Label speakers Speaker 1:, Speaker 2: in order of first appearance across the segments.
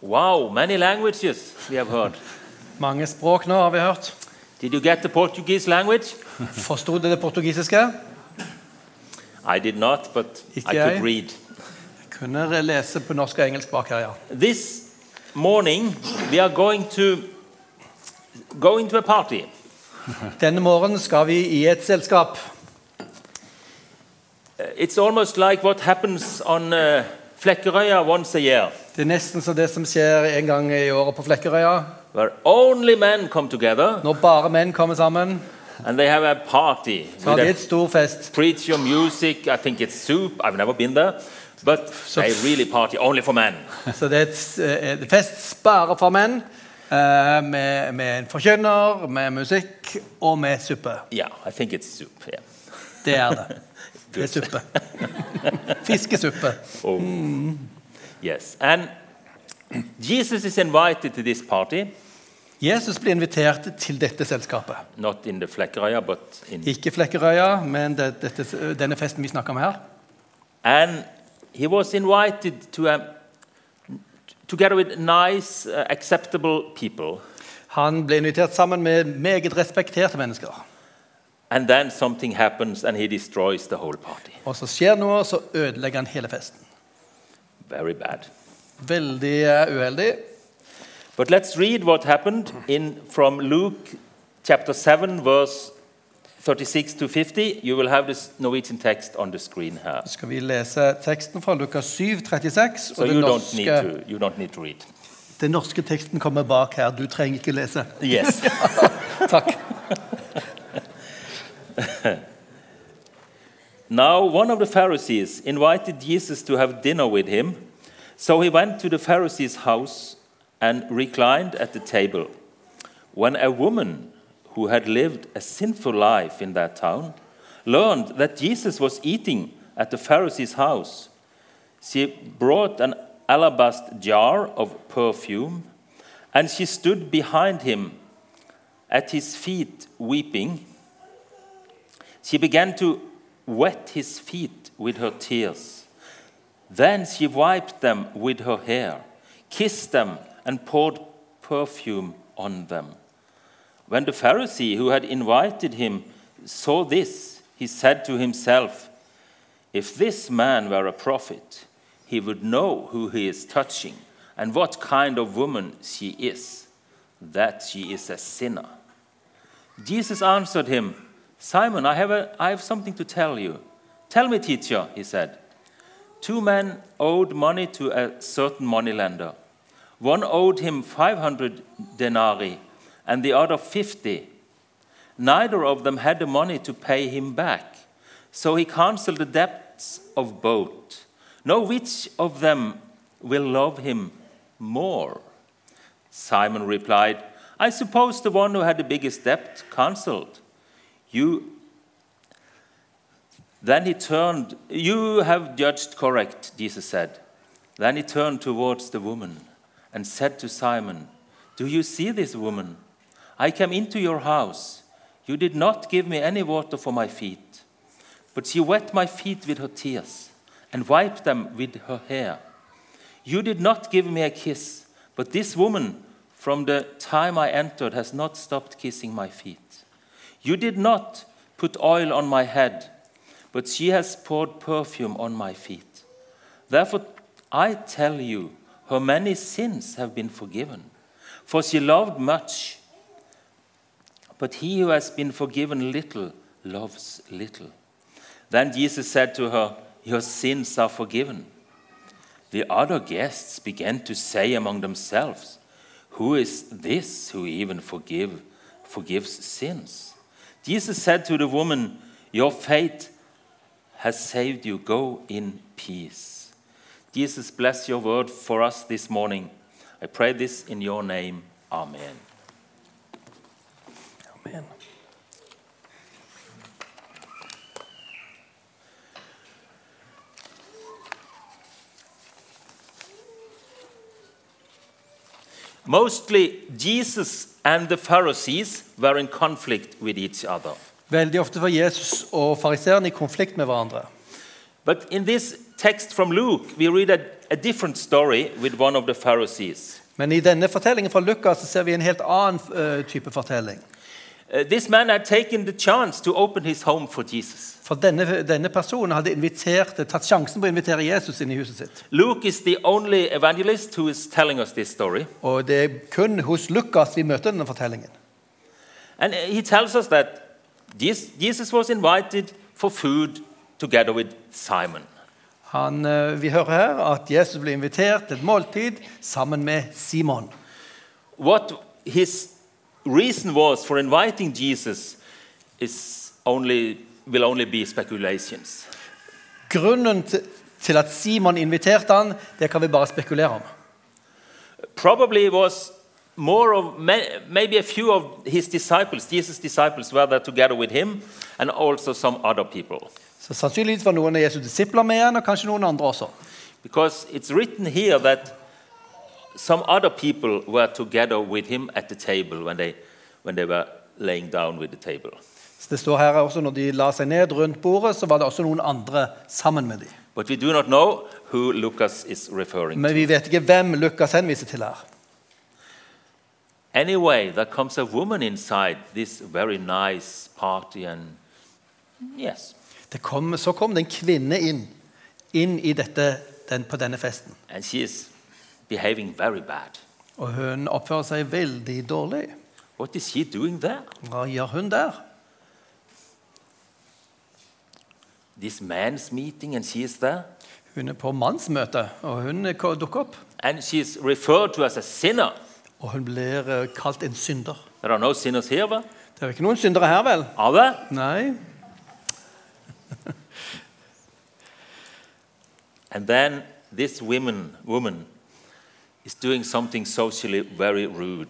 Speaker 1: Wow, many languages we have heard.
Speaker 2: Mange språk nå, har vi hørt.
Speaker 1: Did you get the Portuguese language?
Speaker 2: Forsto dere det portugisiske?
Speaker 1: I did not, but I
Speaker 2: Ikke jeg.
Speaker 1: could read.
Speaker 2: Jeg kunne lese på norsk og engelsk bak her, ja.
Speaker 1: This morning we are going to go into a party.
Speaker 2: Denne morgenen skal vi i et selskap.
Speaker 1: Uh, It's almost like what happens on uh, Flekkerøya once a year,
Speaker 2: Det er nesten som det som skjer en gang i året på Flekkerøya.
Speaker 1: where only men come together
Speaker 2: Når bare menn kommer sammen,
Speaker 1: and they have a party.
Speaker 2: så har
Speaker 1: with
Speaker 2: de
Speaker 1: a
Speaker 2: et stor fest.
Speaker 1: preacher, music, I think it's soup. I've never been there. But
Speaker 2: So-
Speaker 1: they really party only for men.
Speaker 2: Så det er et, et fest bare for menn. eh, Med, med en forkynner, med musikk og med suppe.
Speaker 1: Yeah, I think it's soup. Yeah.
Speaker 2: Det er det. Det er suppe. Fiskesuppe.
Speaker 1: Oh. Yes. And Jesus is invited to this party,
Speaker 2: Jesus blir invitert til dette selskapet.
Speaker 1: not in the Flekkerøya, but in.
Speaker 2: Ikke Flekkerøya, men det, dette, denne festen vi snakker om her.
Speaker 1: And he was invited to a, together with nice, uh, acceptable people.
Speaker 2: Han ble invitert sammen med meget respekterte mennesker.
Speaker 1: And then something happens and he destroys the whole party.
Speaker 2: Og så skjer noe, så ødelegger han hele festen.
Speaker 1: Very bad.
Speaker 2: Veldig eh, uheldig.
Speaker 1: But let's read what happened in, from Luke chapter 7, verse 36 to 50. You will have this Norwegian text on the screen here.
Speaker 2: Så skal vi lese teksten fra Lukas 7, 36.
Speaker 1: So
Speaker 2: Og
Speaker 1: you
Speaker 2: den
Speaker 1: don't, need
Speaker 2: norske,
Speaker 1: to, you don't need to read.
Speaker 2: den norske teksten kommer bak her. Du trenger ikke lese.
Speaker 1: Yes.
Speaker 2: Takk.
Speaker 1: Now, one of the Pharisees invited Jesus to have dinner with him, so he went to the Pharisee's house and reclined at the table. When a woman who had lived a sinful life in that town learned that Jesus was eating at the Pharisee's house, she brought an alabaster jar of perfume, and she stood behind him at his feet weeping. She began to wet his feet with her tears. Then she wiped them with her hair, kissed them, and poured perfume on them. When the Pharisee who had invited him saw this, he said to himself, If this man were a prophet, he would know who he is touching and what kind of woman she is, that she is a sinner. Jesus answered him, Simon, I have, a, I have something to tell you. Tell me, teacher, he said. Two men owed money to a certain moneylender. One owed him 500 denarii and the other 50. Neither of them had the money to pay him back, so he cancelled the debts of both. Know which of them will love him more? Simon replied, I suppose the one who had the biggest debt cancelled. You then he turned, You have judged correct, Jesus said. Then he turned towards the woman and said to Simon, Do you see this woman? I came into your house. You did not give me any water for my feet, but she wet my feet with her tears and wiped them with her hair. You did not give me a kiss, but this woman, from the time I entered, has not stopped kissing my feet. You did not put oil on my head, but she has poured perfume on my feet. Therefore, I tell you, her many sins have been forgiven, for she loved much. But he who has been forgiven little loves little. Then Jesus said to her, Your sins are forgiven. The other guests began to say among themselves, Who is this who even forgive, forgives sins? Jesus said to the woman, Your faith has saved you. Go in peace. Jesus, bless your word for us this morning. I pray this in your name. Amen.
Speaker 2: Amen.
Speaker 1: Mostly, Jesus and the Pharisees were in conflict with each other.
Speaker 2: Veldig ofte var Jesus og fariseerne i konflikt med hverandre.
Speaker 1: But in this text from Luke, we read a, a different story with one of the Pharisees.
Speaker 2: Men i denne fortellingen fra Lukas så ser vi en helt annen eh, type fortelling.
Speaker 1: Uh, this man had taken the chance to open his home for Jesus.
Speaker 2: For denne, denne personen hadde invitert, tatt sjansen på å invitere Jesus inn i huset sitt.
Speaker 1: Luke is the only evangelist who is telling us this story.
Speaker 2: Og det er kun hos Lukas vi møter denne fortellingen.
Speaker 1: And he tells us that Jesus Jesus was invited for food together with Simon.
Speaker 2: Han, eh, vi hører her at Jesus ble invitert til et måltid sammen med Simon.
Speaker 1: What his reason was for inviting Jesus is only, will only be speculations.
Speaker 2: Grunnen til- til at Simon inviterte han, det kan vi bare spekulere om.
Speaker 1: Probably it was more of may- maybe a few of his disciples, Jesus' disciples, were there together with him, and also some other people.
Speaker 2: Så Sannsynligvis var noen av Jesu disipler med han, og kanskje noen andre også.
Speaker 1: Because it's written here that some other people were together with him at the table when they, when they were laying down with the table.
Speaker 2: Så det står her også Når de la seg ned rundt bordet, så var det også noen andre sammen med dem.
Speaker 1: But we do not know who Lucas is referring to.
Speaker 2: Men vi vet ikke hvem Lukas henviser til her.
Speaker 1: Anyway, there comes a woman inside this very nice party, and yes,
Speaker 2: Det kom, så kom det en kvinne inn, inn i dette, den, på denne festen.
Speaker 1: and she is behaving very bad.
Speaker 2: Og hun oppfører seg veldig dårlig.
Speaker 1: What is she doing there?
Speaker 2: Hva gjør hun der?
Speaker 1: This man's meeting, and she is there,
Speaker 2: Hun er på mannsmøte, og hun ko- dukker opp.
Speaker 1: and she is referred to as a sinner.
Speaker 2: Og hun blir eh, kalt en synder.
Speaker 1: There are no sinners here, but
Speaker 2: Det er jo ikke noen syndere her, vel?
Speaker 1: are there?
Speaker 2: Nei.
Speaker 1: And then this woman, woman is doing something socially very rude.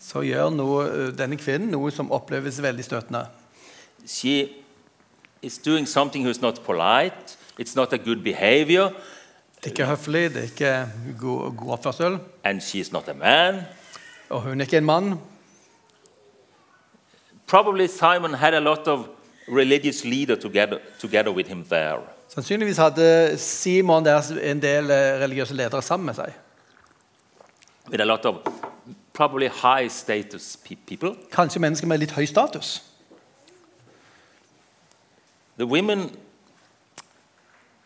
Speaker 2: Så gjør noe, eh, denne kvinnen noe som oppleves veldig støtende.
Speaker 1: She is doing something who's not polite, it's not a good behavior,
Speaker 2: Det er ikke høflig, det er ikke god, god oppførsel.
Speaker 1: and she's not a man.
Speaker 2: Og hun er ikke en mann.
Speaker 1: Probably Simon had a lot of religious leader together, together with him there.
Speaker 2: Sannsynligvis hadde Simon deres en del eh, religiøse ledere sammen med seg.
Speaker 1: With a lot of probably high status pe- people.
Speaker 2: Kanskje mennesker med litt høy status.
Speaker 1: The woman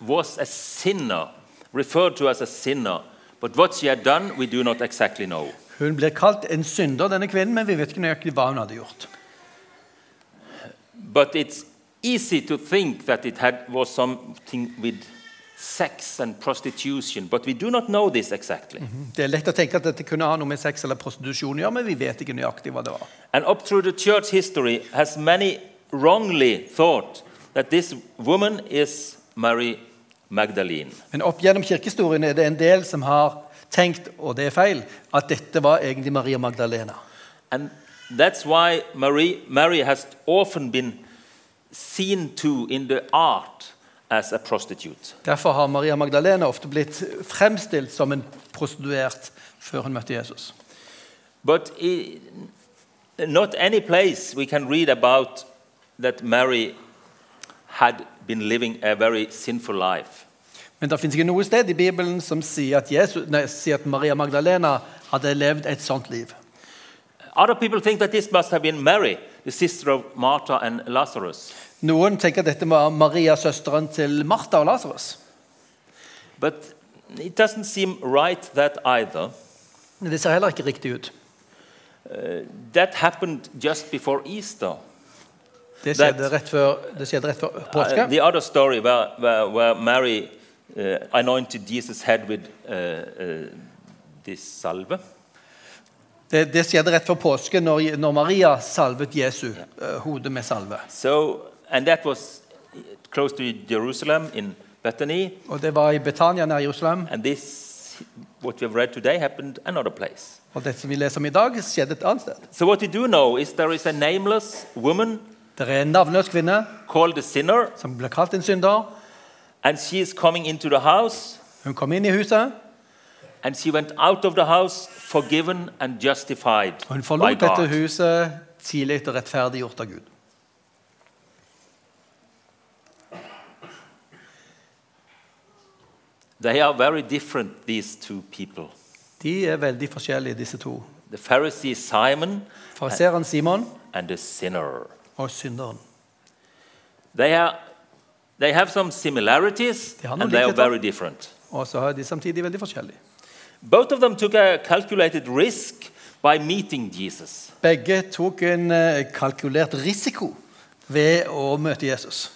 Speaker 1: was a sinner, referred to as a sinner. But what she had done, we do not exactly know.
Speaker 2: Hun blir kalt en synder, denne kvinnen, men vi vet ikke nøyaktig hva hun hadde gjort.
Speaker 1: But it's easy to think that it had, was something with sex and prostitution, but we do not know this exactly.
Speaker 2: Det er lett å tenke at dette kunne ha noe med sex eller prostitusjon å gjøre, men vi vet ikke nøyaktig hva det var.
Speaker 1: And up through the church history, has many wrongly thought that this woman is Mary Magdalene.
Speaker 2: Men opp gjennom kirkehistorien er det en del som har tenkt, og det er feil, at dette var egentlig Maria Magdalena.
Speaker 1: And that's why Marie, Mary has often been seen to in the art as a prostitute.
Speaker 2: Derfor har Maria Magdalena ofte blitt fremstilt som en prostituert før hun møtte Jesus.
Speaker 1: But i- not any place we can read about that Mary had been living a very sinful life.
Speaker 2: Men det fins ikke noe sted i Bibelen som sier at, Jesus, nei, sier at Maria Magdalena hadde levd et sånt liv.
Speaker 1: Other people think that this must have been Mary, the sister of Martha and Lazarus.
Speaker 2: Noen tenker at dette var Maria, søsteren til Martha og Lasarus.
Speaker 1: But it doesn't seem right that either.
Speaker 2: Men det ser heller ikke riktig ut.
Speaker 1: That happened just before Easter.
Speaker 2: Det skjedde rett før, det skjedde rett før påske.
Speaker 1: Uh, the other story where, where, where Mary uh, anointed Jesus' head with uh, uh, this salve.
Speaker 2: Det, det skjedde rett før påske, når, når Maria salvet Jesu eh, hode med salve.
Speaker 1: So, and that was close to Jerusalem in Bethany,
Speaker 2: Og Det var i Betania nær Jerusalem.
Speaker 1: and this, what we have read today, happened another place.
Speaker 2: Og det som vi leser om i dag, skjedde et annet sted.
Speaker 1: So, what we do know is there is a nameless woman
Speaker 2: Det er en navnløs kvinne
Speaker 1: called the sinner,
Speaker 2: som ble kalt en synder.
Speaker 1: and she is coming into the house,
Speaker 2: Hun kom inn i huset,
Speaker 1: and she went out of the house forgiven and justified
Speaker 2: og hun
Speaker 1: by
Speaker 2: forlot dette
Speaker 1: God.
Speaker 2: huset tidlig og rettferdiggjort av Gud.
Speaker 1: They are very different, these two people.
Speaker 2: De er veldig forskjellige, disse to.
Speaker 1: The Pharisee Simon
Speaker 2: Fariseeren Simon
Speaker 1: and the sinner.
Speaker 2: og synderen.
Speaker 1: They, are, they have some similarities
Speaker 2: Det har noen
Speaker 1: and they are
Speaker 2: likheter.
Speaker 1: very different.
Speaker 2: Og så er de samtidig veldig forskjellige.
Speaker 1: Both of them took a calculated risk by meeting Jesus.
Speaker 2: Begge tok en eh, kalkulert risiko ved å møte Jesus.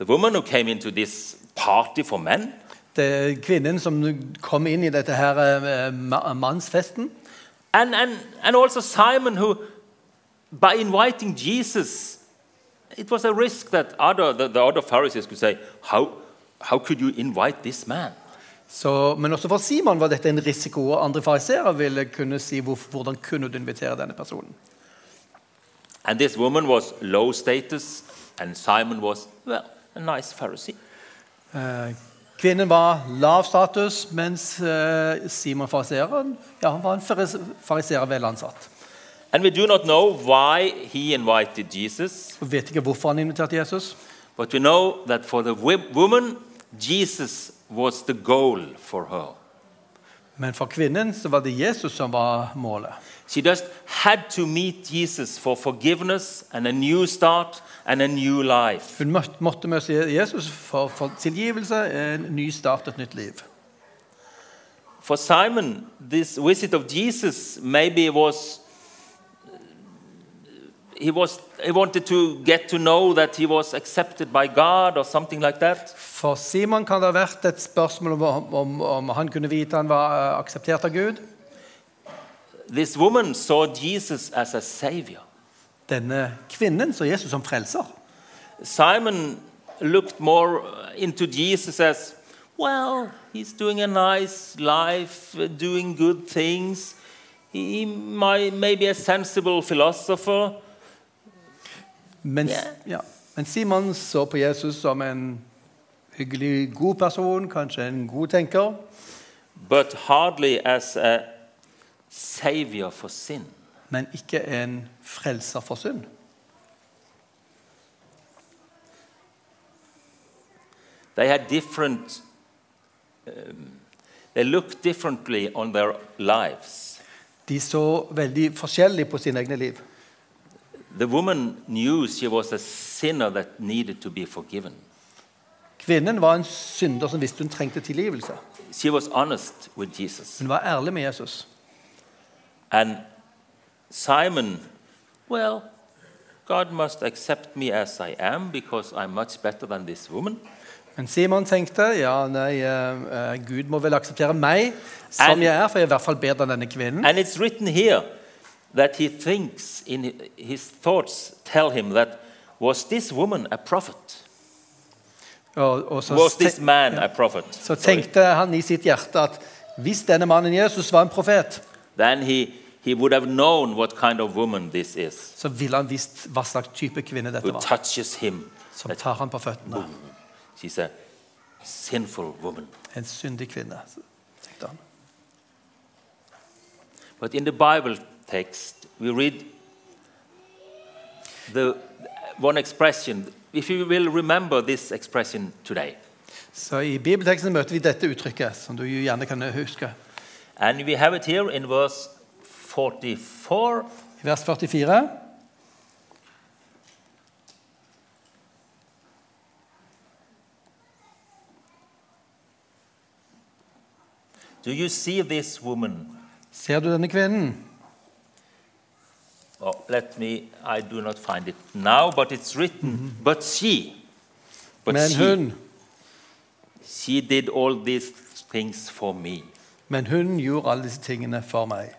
Speaker 1: The woman who came into this party for men,
Speaker 2: Det er kvinnen som kom inn i dette her eh, ma- mannsfesten,
Speaker 1: and, and, and also Simon, who, by inviting Jesus, it was a risk that other, the, the other Pharisees could say, how, how could you invite this man?
Speaker 2: så, men også for Simon var dette en risiko. Og andre fariseere ville kunne si hvor, hvordan kunne du invitere denne personen.
Speaker 1: And this woman was low status, and Simon was, well, a nice Pharisee.
Speaker 2: Eh, Kvinnen var lav status, mens eh, Simon fariseeren ja, han var en faris- fariseer vel ansatt.
Speaker 1: And we do not know why he invited Jesus,
Speaker 2: Vi vet ikke hvorfor han inviterte Jesus,
Speaker 1: but we know that for the wo- woman, Jesus was the goal for her.
Speaker 2: men for kvinnen så var det Jesus som var målet.
Speaker 1: She just had to meet Jesus for forgiveness and a new start and a new life.
Speaker 2: Hun møtte, måtte møte Jesus for, for tilgivelse, en ny start, et nytt liv.
Speaker 1: For Simon, this visit of Jesus maybe was. uh, He, was, he wanted to get to know that he was accepted by God or something like that.
Speaker 2: For Simon kan det ha vært et spørsmål om, om, om han kunne vite han var eh, akseptert av Gud.
Speaker 1: This woman saw Jesus as a savior.
Speaker 2: Denne kvinnen så Jesus som frelser.
Speaker 1: Simon looked more uh, into Jesus as, well, he's doing a nice life, uh, doing good things. He might, may be a sensible philosopher.
Speaker 2: Mens, ja. Men Simon så på Jesus som en hyggelig, god person, kanskje en god tenker,
Speaker 1: but hardly as a savior for sin.
Speaker 2: men ikke en frelser for synd.
Speaker 1: They had different, um, they looked differently on their lives.
Speaker 2: De så veldig forskjellig på sine egne liv.
Speaker 1: The woman knew she was a sinner that needed to be forgiven.
Speaker 2: Kvinnen var en synder som visste hun trengte tilgivelse.
Speaker 1: She was honest with Jesus.
Speaker 2: Hun var ærlig med Jesus.
Speaker 1: And Simon, well, God must accept me as I am because I'm much better than this woman.
Speaker 2: Men Simon tenkte ja, nei, eh, eh, Gud må vel akseptere meg som
Speaker 1: And-
Speaker 2: jeg er, for jeg er i hvert fall bedre enn denne kvinnen.
Speaker 1: And it's written here that he thinks in his thoughts tell him that was this woman a prophet?
Speaker 2: Og, og så,
Speaker 1: Was this
Speaker 2: ten-
Speaker 1: man a prophet?
Speaker 2: så
Speaker 1: Sorry.
Speaker 2: tenkte han i sitt hjerte at hvis denne mannen Jesus var en profet,
Speaker 1: Then he, he would have known what kind of woman this is
Speaker 2: så ville han visst hva slags type kvinne dette
Speaker 1: who
Speaker 2: var.
Speaker 1: touches him.
Speaker 2: Som tar han på føttene.
Speaker 1: She's a sinful woman.
Speaker 2: En syndig kvinne, tenkte han.
Speaker 1: But in the Bible text, we read the one expression. If you will remember this expression today,
Speaker 2: Så i bibelteksten møter vi dette uttrykket, som du jo gjerne kan huske.
Speaker 1: and we have it here in verse 44.
Speaker 2: I vers 44.
Speaker 1: Do you see this woman?
Speaker 2: Ser du denne kvinnen?
Speaker 1: Oh, let me, I do not find it now, but it's written, but she, but
Speaker 2: Men
Speaker 1: she,
Speaker 2: hun,
Speaker 1: she did all these things for me.
Speaker 2: men hun gjorde alle disse tingene for meg.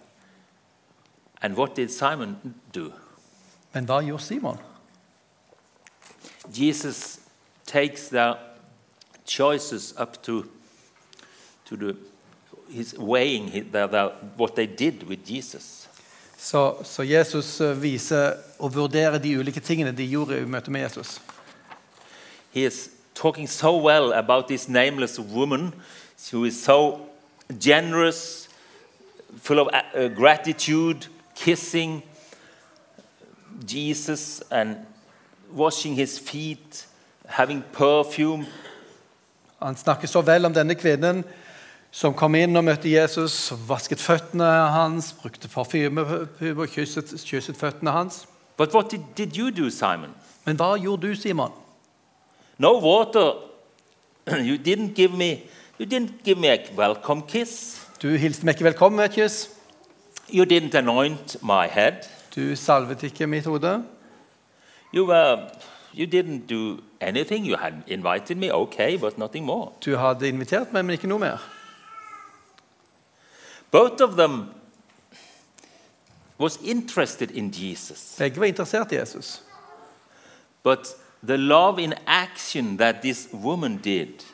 Speaker 1: And what did Simon do?
Speaker 2: Men hva gjorde Simon?
Speaker 1: Jesus takes their choices up to, to the, he's weighing his, their, their, what they did with Jesus.
Speaker 2: Så, så Jesus eh, viser og vurderer de ulike tingene de gjorde i møte med Jesus.
Speaker 1: He is talking so well about this nameless woman who is so generous, full of uh, gratitude, kissing Jesus and washing his feet, having perfume.
Speaker 2: Han snakker så vel om denne kvinnen som kom inn og møtte Jesus, vasket føttene hans, brukte parfyme og kysset, kysset føttene hans.
Speaker 1: But what did, did you do, Simon?
Speaker 2: Men hva gjorde du, Simon?
Speaker 1: No water. You didn't give me. You didn't give me a welcome kiss.
Speaker 2: Du hilste meg ikke velkommen med et kyss.
Speaker 1: You didn't anoint my head.
Speaker 2: Du salvet ikke mitt hode.
Speaker 1: You were. You didn't do anything. You had invited me, okay, but nothing more.
Speaker 2: Du hadde invitert meg, men ikke noe mer.
Speaker 1: Both of them was interested in Jesus,
Speaker 2: Begge var interessert i Jesus.
Speaker 1: but the love in action that this woman did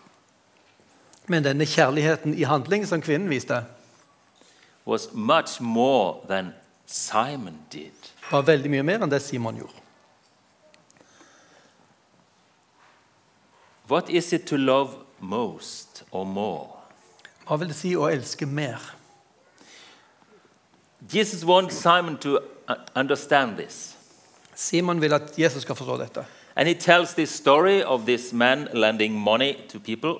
Speaker 2: Men denne kjærligheten i handling som kvinnen viste,
Speaker 1: was much more than Simon did.
Speaker 2: var veldig mye mer enn det Simon gjorde.
Speaker 1: What is it to love most or more?
Speaker 2: Hva vil det si å elske mer?
Speaker 1: Jesus wants Simon to uh, understand this.
Speaker 2: Simon vil at Jesus skal forstå dette.
Speaker 1: And he tells this story of this man lending money to people.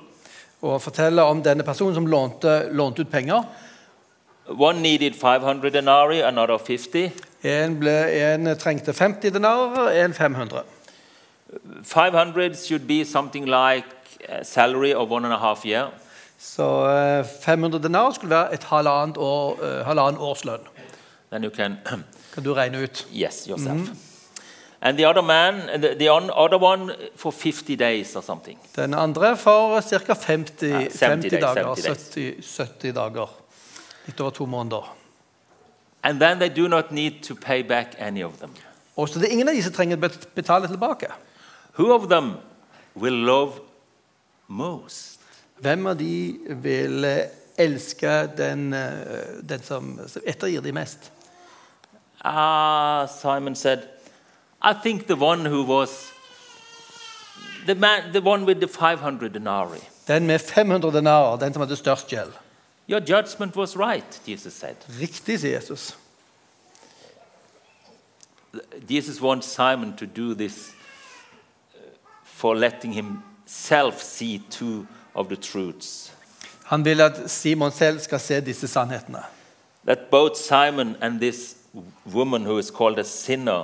Speaker 2: Og fortelle om denne personen som lånte, lånte ut penger.
Speaker 1: One needed 500 denarii, another 50.
Speaker 2: En, ble, en trengte 50 denarer, en 500.
Speaker 1: 500 should be something like a salary of one and a half year.
Speaker 2: Så eh, 500 denarer skulle være et halvannet, år, eh, halvannen årslønn.
Speaker 1: Then you can,
Speaker 2: Kan du regne ut?
Speaker 1: yes, yourself. And the other man, the, the on- other one for 50 days or something.
Speaker 2: Den andre for ca. 50,
Speaker 1: Ja, 70
Speaker 2: 50
Speaker 1: days,
Speaker 2: dager.
Speaker 1: 70 days.
Speaker 2: 70, 70 dager. Litt over to måneder.
Speaker 1: And then they do not need to pay back any of them.
Speaker 2: Og så det er ingen av de som trenger å bet- betale tilbake.
Speaker 1: Who of them will love most?
Speaker 2: Hvem av de vil eh, elske den, eh, den som, som ettergir de mest?
Speaker 1: Ah, Simon said, I think the one who was the man, the one with the 500 denarii.
Speaker 2: Den med 500 denarer, den som hadde størst gjeld.
Speaker 1: Your judgment was right, Jesus said.
Speaker 2: Riktig, sier Jesus.
Speaker 1: Jesus wants Simon to do this uh, for letting himself see two of the truths.
Speaker 2: Han vil at Simon selv skal se disse sannhetene.
Speaker 1: That both Simon and this woman who is called a sinner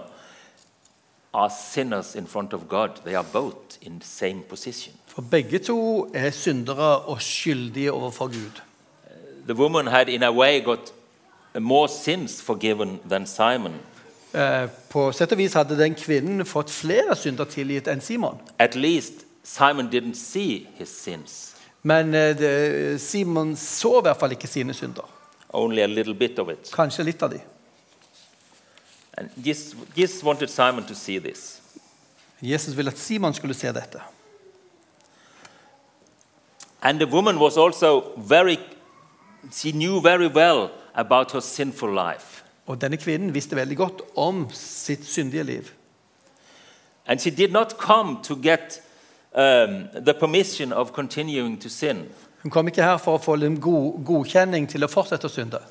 Speaker 1: are sinners in front of God. They are both in the same position.
Speaker 2: For begge to er syndere og skyldige overfor Gud.
Speaker 1: The woman had, in a way, got more sins forgiven than Simon.
Speaker 2: Eh, På sett og vis hadde den kvinnen fått flere synder tilgitt enn Simon.
Speaker 1: At least Simon didn't see his sins,
Speaker 2: Men eh, det, Simon så i hvert fall ikke sine synder.
Speaker 1: only a little bit of it.
Speaker 2: Kanskje litt av de.
Speaker 1: And Jesus, Jesus wanted Simon to see this.
Speaker 2: Jesus ville at Simon skulle se dette.
Speaker 1: And the woman was also very, she knew very well about her sinful life.
Speaker 2: Og denne kvinnen visste veldig godt om sitt syndige liv.
Speaker 1: And she did not come to get um, the permission of continuing to sin,
Speaker 2: Hun kom ikke her for å få en god, godkjenning til å fortsette å synde,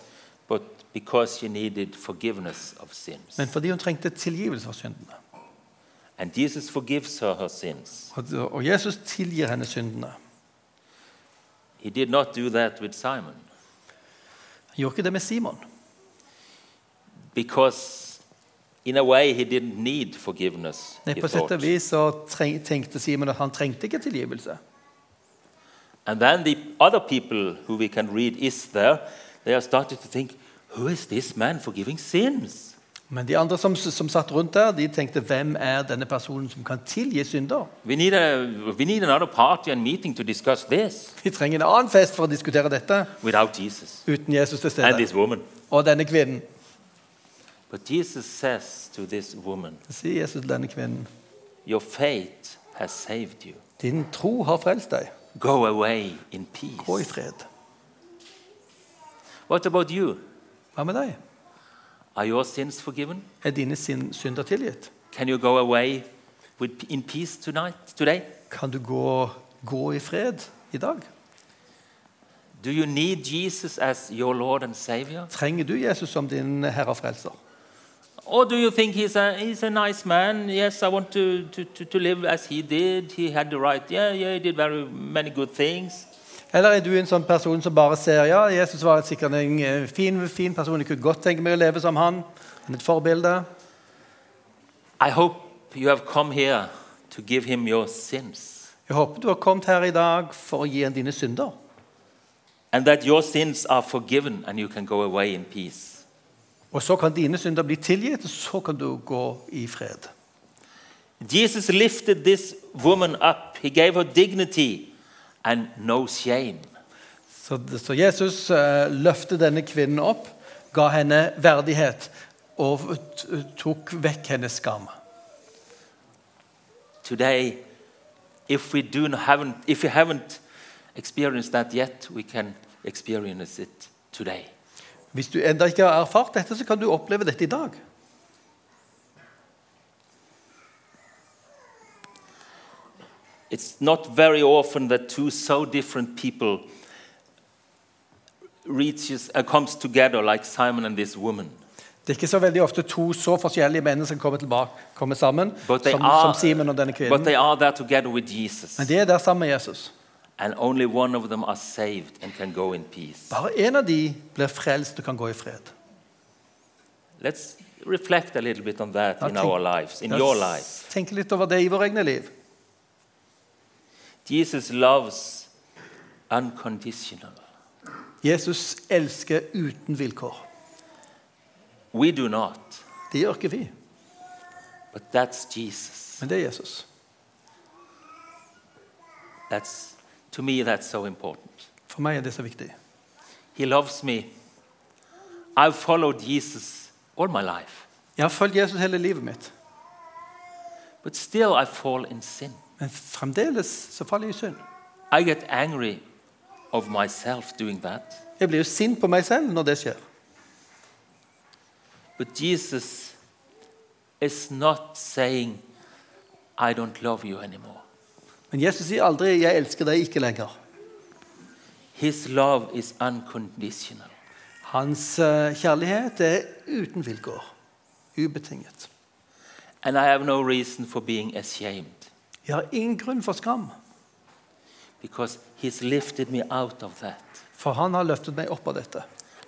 Speaker 1: but because she needed forgiveness of sins.
Speaker 2: men fordi hun trengte tilgivelse for syndene.
Speaker 1: And Jesus forgives her her sins.
Speaker 2: Og, og Jesus tilgir henne syndene.
Speaker 1: He did not do that with Simon
Speaker 2: Han gjorde ikke det med Simon,
Speaker 1: because, in a way, he didn't need forgiveness.
Speaker 2: Nei,
Speaker 1: he
Speaker 2: på sett
Speaker 1: thought.
Speaker 2: og vis så treng, tenkte Simon at han trengte ikke tilgivelse.
Speaker 1: And then the other people who we can read is there, they are started to think, who is this man forgiving sins?
Speaker 2: Men de andre som, som satt rundt der, de tenkte hvem er denne personen som kan tilgi synder?
Speaker 1: We need, a, we need another party and meeting to discuss this
Speaker 2: Vi trenger en annen fest for å diskutere dette
Speaker 1: without Jesus
Speaker 2: uten Jesus til
Speaker 1: and
Speaker 2: stede.
Speaker 1: this woman.
Speaker 2: Og denne kvinnen.
Speaker 1: But Jesus says to this woman,
Speaker 2: Så sier Jesus til denne kvinnen.
Speaker 1: Your faith has saved you.
Speaker 2: Din tro har frelst deg.
Speaker 1: Go away in
Speaker 2: Gå i
Speaker 1: peace.
Speaker 2: fred.
Speaker 1: What about you?
Speaker 2: Hva med deg?
Speaker 1: Are your sins forgiven?
Speaker 2: Er dine sin, synder tilgitt?
Speaker 1: Can you go away with, in peace tonight, today?
Speaker 2: Kan du gå, gå i fred i dag?
Speaker 1: Do you need Jesus as your Lord and Savior?
Speaker 2: Trenger du Jesus som din herre og frelser?
Speaker 1: Or do you think he's a, he's a nice man? Yes, I want to, to, to, to live as he did. He had the right. Yeah, yeah, he did very many good things.
Speaker 2: Eller er du en sånn person som bare ser ja, Jesus var sikkert en eh, fin, fin person, jeg kunne godt tenke meg å leve som han. Han er et forbilde.
Speaker 1: I hope you have come here to give him your sins
Speaker 2: Jeg håper du har kommet her i dag for å gi ham dine synder.
Speaker 1: and that your sins are forgiven and you can go away in peace.
Speaker 2: Og så kan dine synder bli tilgitt, og så kan du gå i fred.
Speaker 1: Jesus lifted this woman up, he gave her dignity and no shame.
Speaker 2: Så, så Jesus eh, løftet denne kvinnen opp, ga henne verdighet og t- tok vekk hennes skam.
Speaker 1: Today, if we, do not, haven't, if we haven't experienced that yet, we can experience it today.
Speaker 2: Hvis du ennå ikke har erfart dette, så kan du oppleve dette i dag.
Speaker 1: It's not very often that two so different people reaches uh, comes together like Simon and this woman.
Speaker 2: Det er ikke så veldig ofte to så forskjellige mennesker kommer, tilbake, kommer sammen, som,
Speaker 1: But they are
Speaker 2: som Simen og denne
Speaker 1: But
Speaker 2: kvinnen.
Speaker 1: they are there together with Jesus.
Speaker 2: Men de er der sammen med Jesus.
Speaker 1: And only one of them are saved and can go in peace.
Speaker 2: Bare én av de blir frelst og kan gå i fred.
Speaker 1: Let's reflect a little bit on that
Speaker 2: I
Speaker 1: in
Speaker 2: think-
Speaker 1: our lives, in
Speaker 2: La
Speaker 1: your
Speaker 2: oss
Speaker 1: life.
Speaker 2: Tenke litt over det i våre egne liv.
Speaker 1: Jesus loves unconditional.
Speaker 2: Jesus elsker uten vilkår.
Speaker 1: We do not,
Speaker 2: Det gjør ikke vi,
Speaker 1: but that's Jesus.
Speaker 2: men det er Jesus.
Speaker 1: That's to me that's so important.
Speaker 2: For meg er det så viktig.
Speaker 1: He loves me. I've followed Jesus all my life.
Speaker 2: Jeg har fulgt Jesus hele livet mitt,
Speaker 1: But still, I fall in sin.
Speaker 2: men fremdeles så faller jeg i synd.
Speaker 1: I get angry of myself doing that.
Speaker 2: Jeg blir jo sint på meg selv når det skjer.
Speaker 1: But Jesus is not saying, I don't love you anymore.
Speaker 2: Men Jesus sier aldri 'jeg elsker deg ikke lenger'.
Speaker 1: His love is unconditional.
Speaker 2: Hans eh, kjærlighet er uten vilkår. Ubetinget.
Speaker 1: And I have no reason for being ashamed
Speaker 2: Jeg har ingen grunn for skam,
Speaker 1: because He's lifted me out of that.
Speaker 2: for han har løftet meg opp av dette.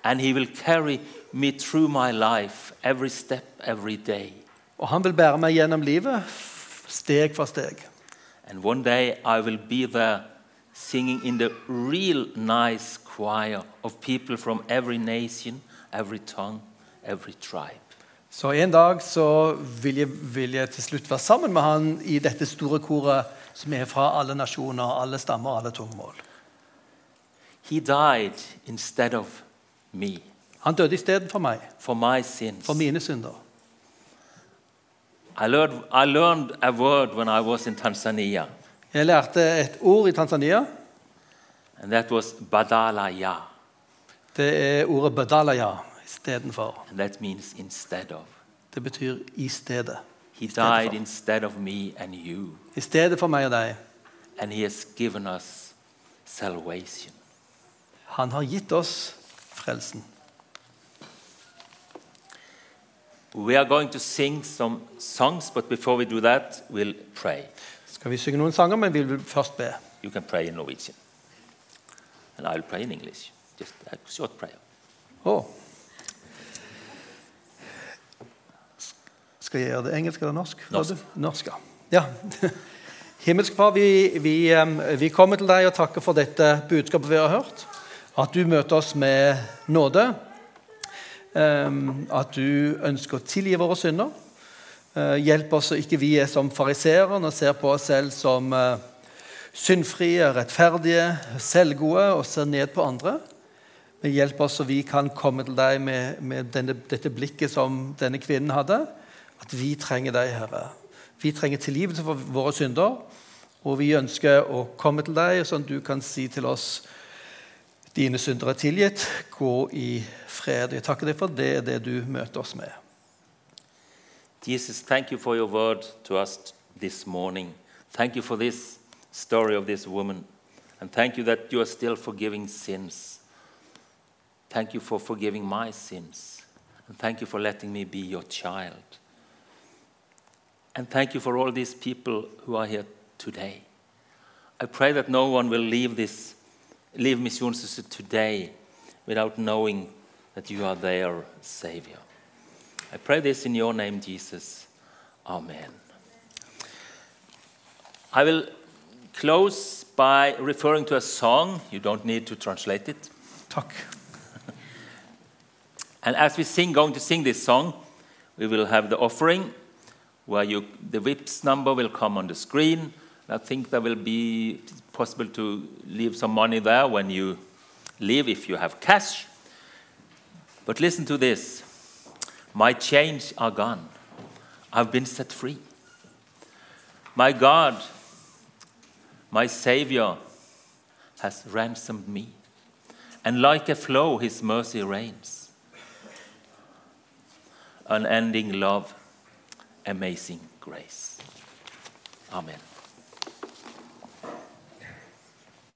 Speaker 1: And He will carry me through my life every step, every day.
Speaker 2: Og han vil bære meg gjennom livet, f- steg for steg.
Speaker 1: And one day I will be there singing in the real nice choir of people from every nation, every tongue, every tribe.
Speaker 2: Så en dag så vil jeg, vil jeg til slutt være sammen med han i dette store koret som er fra alle nasjoner, alle stammer, alle tungemål.
Speaker 1: He died instead of me
Speaker 2: Han døde istedenfor meg,
Speaker 1: for my sins.
Speaker 2: for mine synder.
Speaker 1: I, learned, I learned a word when I was in Tanzania,
Speaker 2: Jeg lærte et ord i Tanzania.
Speaker 1: and that was badalaya,
Speaker 2: Det er ordet 'badalaya' istedenfor.
Speaker 1: and that means instead of.
Speaker 2: Det betyr 'i stedet'.
Speaker 1: He
Speaker 2: Instead
Speaker 1: died
Speaker 2: for.
Speaker 1: instead of me and you,
Speaker 2: I stedet for meg og deg.
Speaker 1: and He has given us salvation.
Speaker 2: Han har gitt oss frelsen.
Speaker 1: We are going to sing some songs, but before we do that, we'll pray.
Speaker 2: Skal vi synge noen sanger, men vi vil først be.
Speaker 1: You can pray in Norwegian. And I'll pray in English. Just a short prayer.
Speaker 2: Å. Skal jeg gjøre det engelsk eller norsk?
Speaker 1: Norsk.
Speaker 2: norsk ja. ja. Himmelske Far, vi, vi, em, vi kommer til deg og takker for dette budskapet vi har hørt. At du møter oss med nåde. Em, At du ønsker å tilgi våre synder. Eh, Hjelp oss så ikke vi er som fariseeren og ser på oss selv som eh, syndfrie, rettferdige, selvgode og ser ned på andre. Men hjelp oss så vi kan komme til deg med, med denne, dette blikket som denne kvinnen hadde. At vi trenger deg, Herre. Vi trenger tilgivelse for våre synder. Og vi ønsker å komme til deg, sånn at du kan si til oss dine synder er tilgitt. Gå i fred. Jeg takker deg for det, det du møter oss med.
Speaker 1: Jesus, thank you for your word to us t- this morning. Thank you for this story of this woman. And thank you that you are still forgiving sins. Thank you for forgiving my sins. And thank you for letting me be your child. And thank you for all these people who are here today. I pray that no one will leave this, leave Mission Sister today without knowing that you are their Savior. I pray this in your name, Jesus. Amen. I will close by referring to a song. You don't need to translate it.
Speaker 2: Takk.
Speaker 1: And as we sing, going to sing this song, we will have the offering where you, the VIPS number will come on the screen. I think there will be possible to leave some money there when you leave if you have cash. But listen to this My chains are gone, I've been set free. My God, my Savior, has ransomed me. And like a flow, His mercy reigns. Unending love, amazing grace. Amen.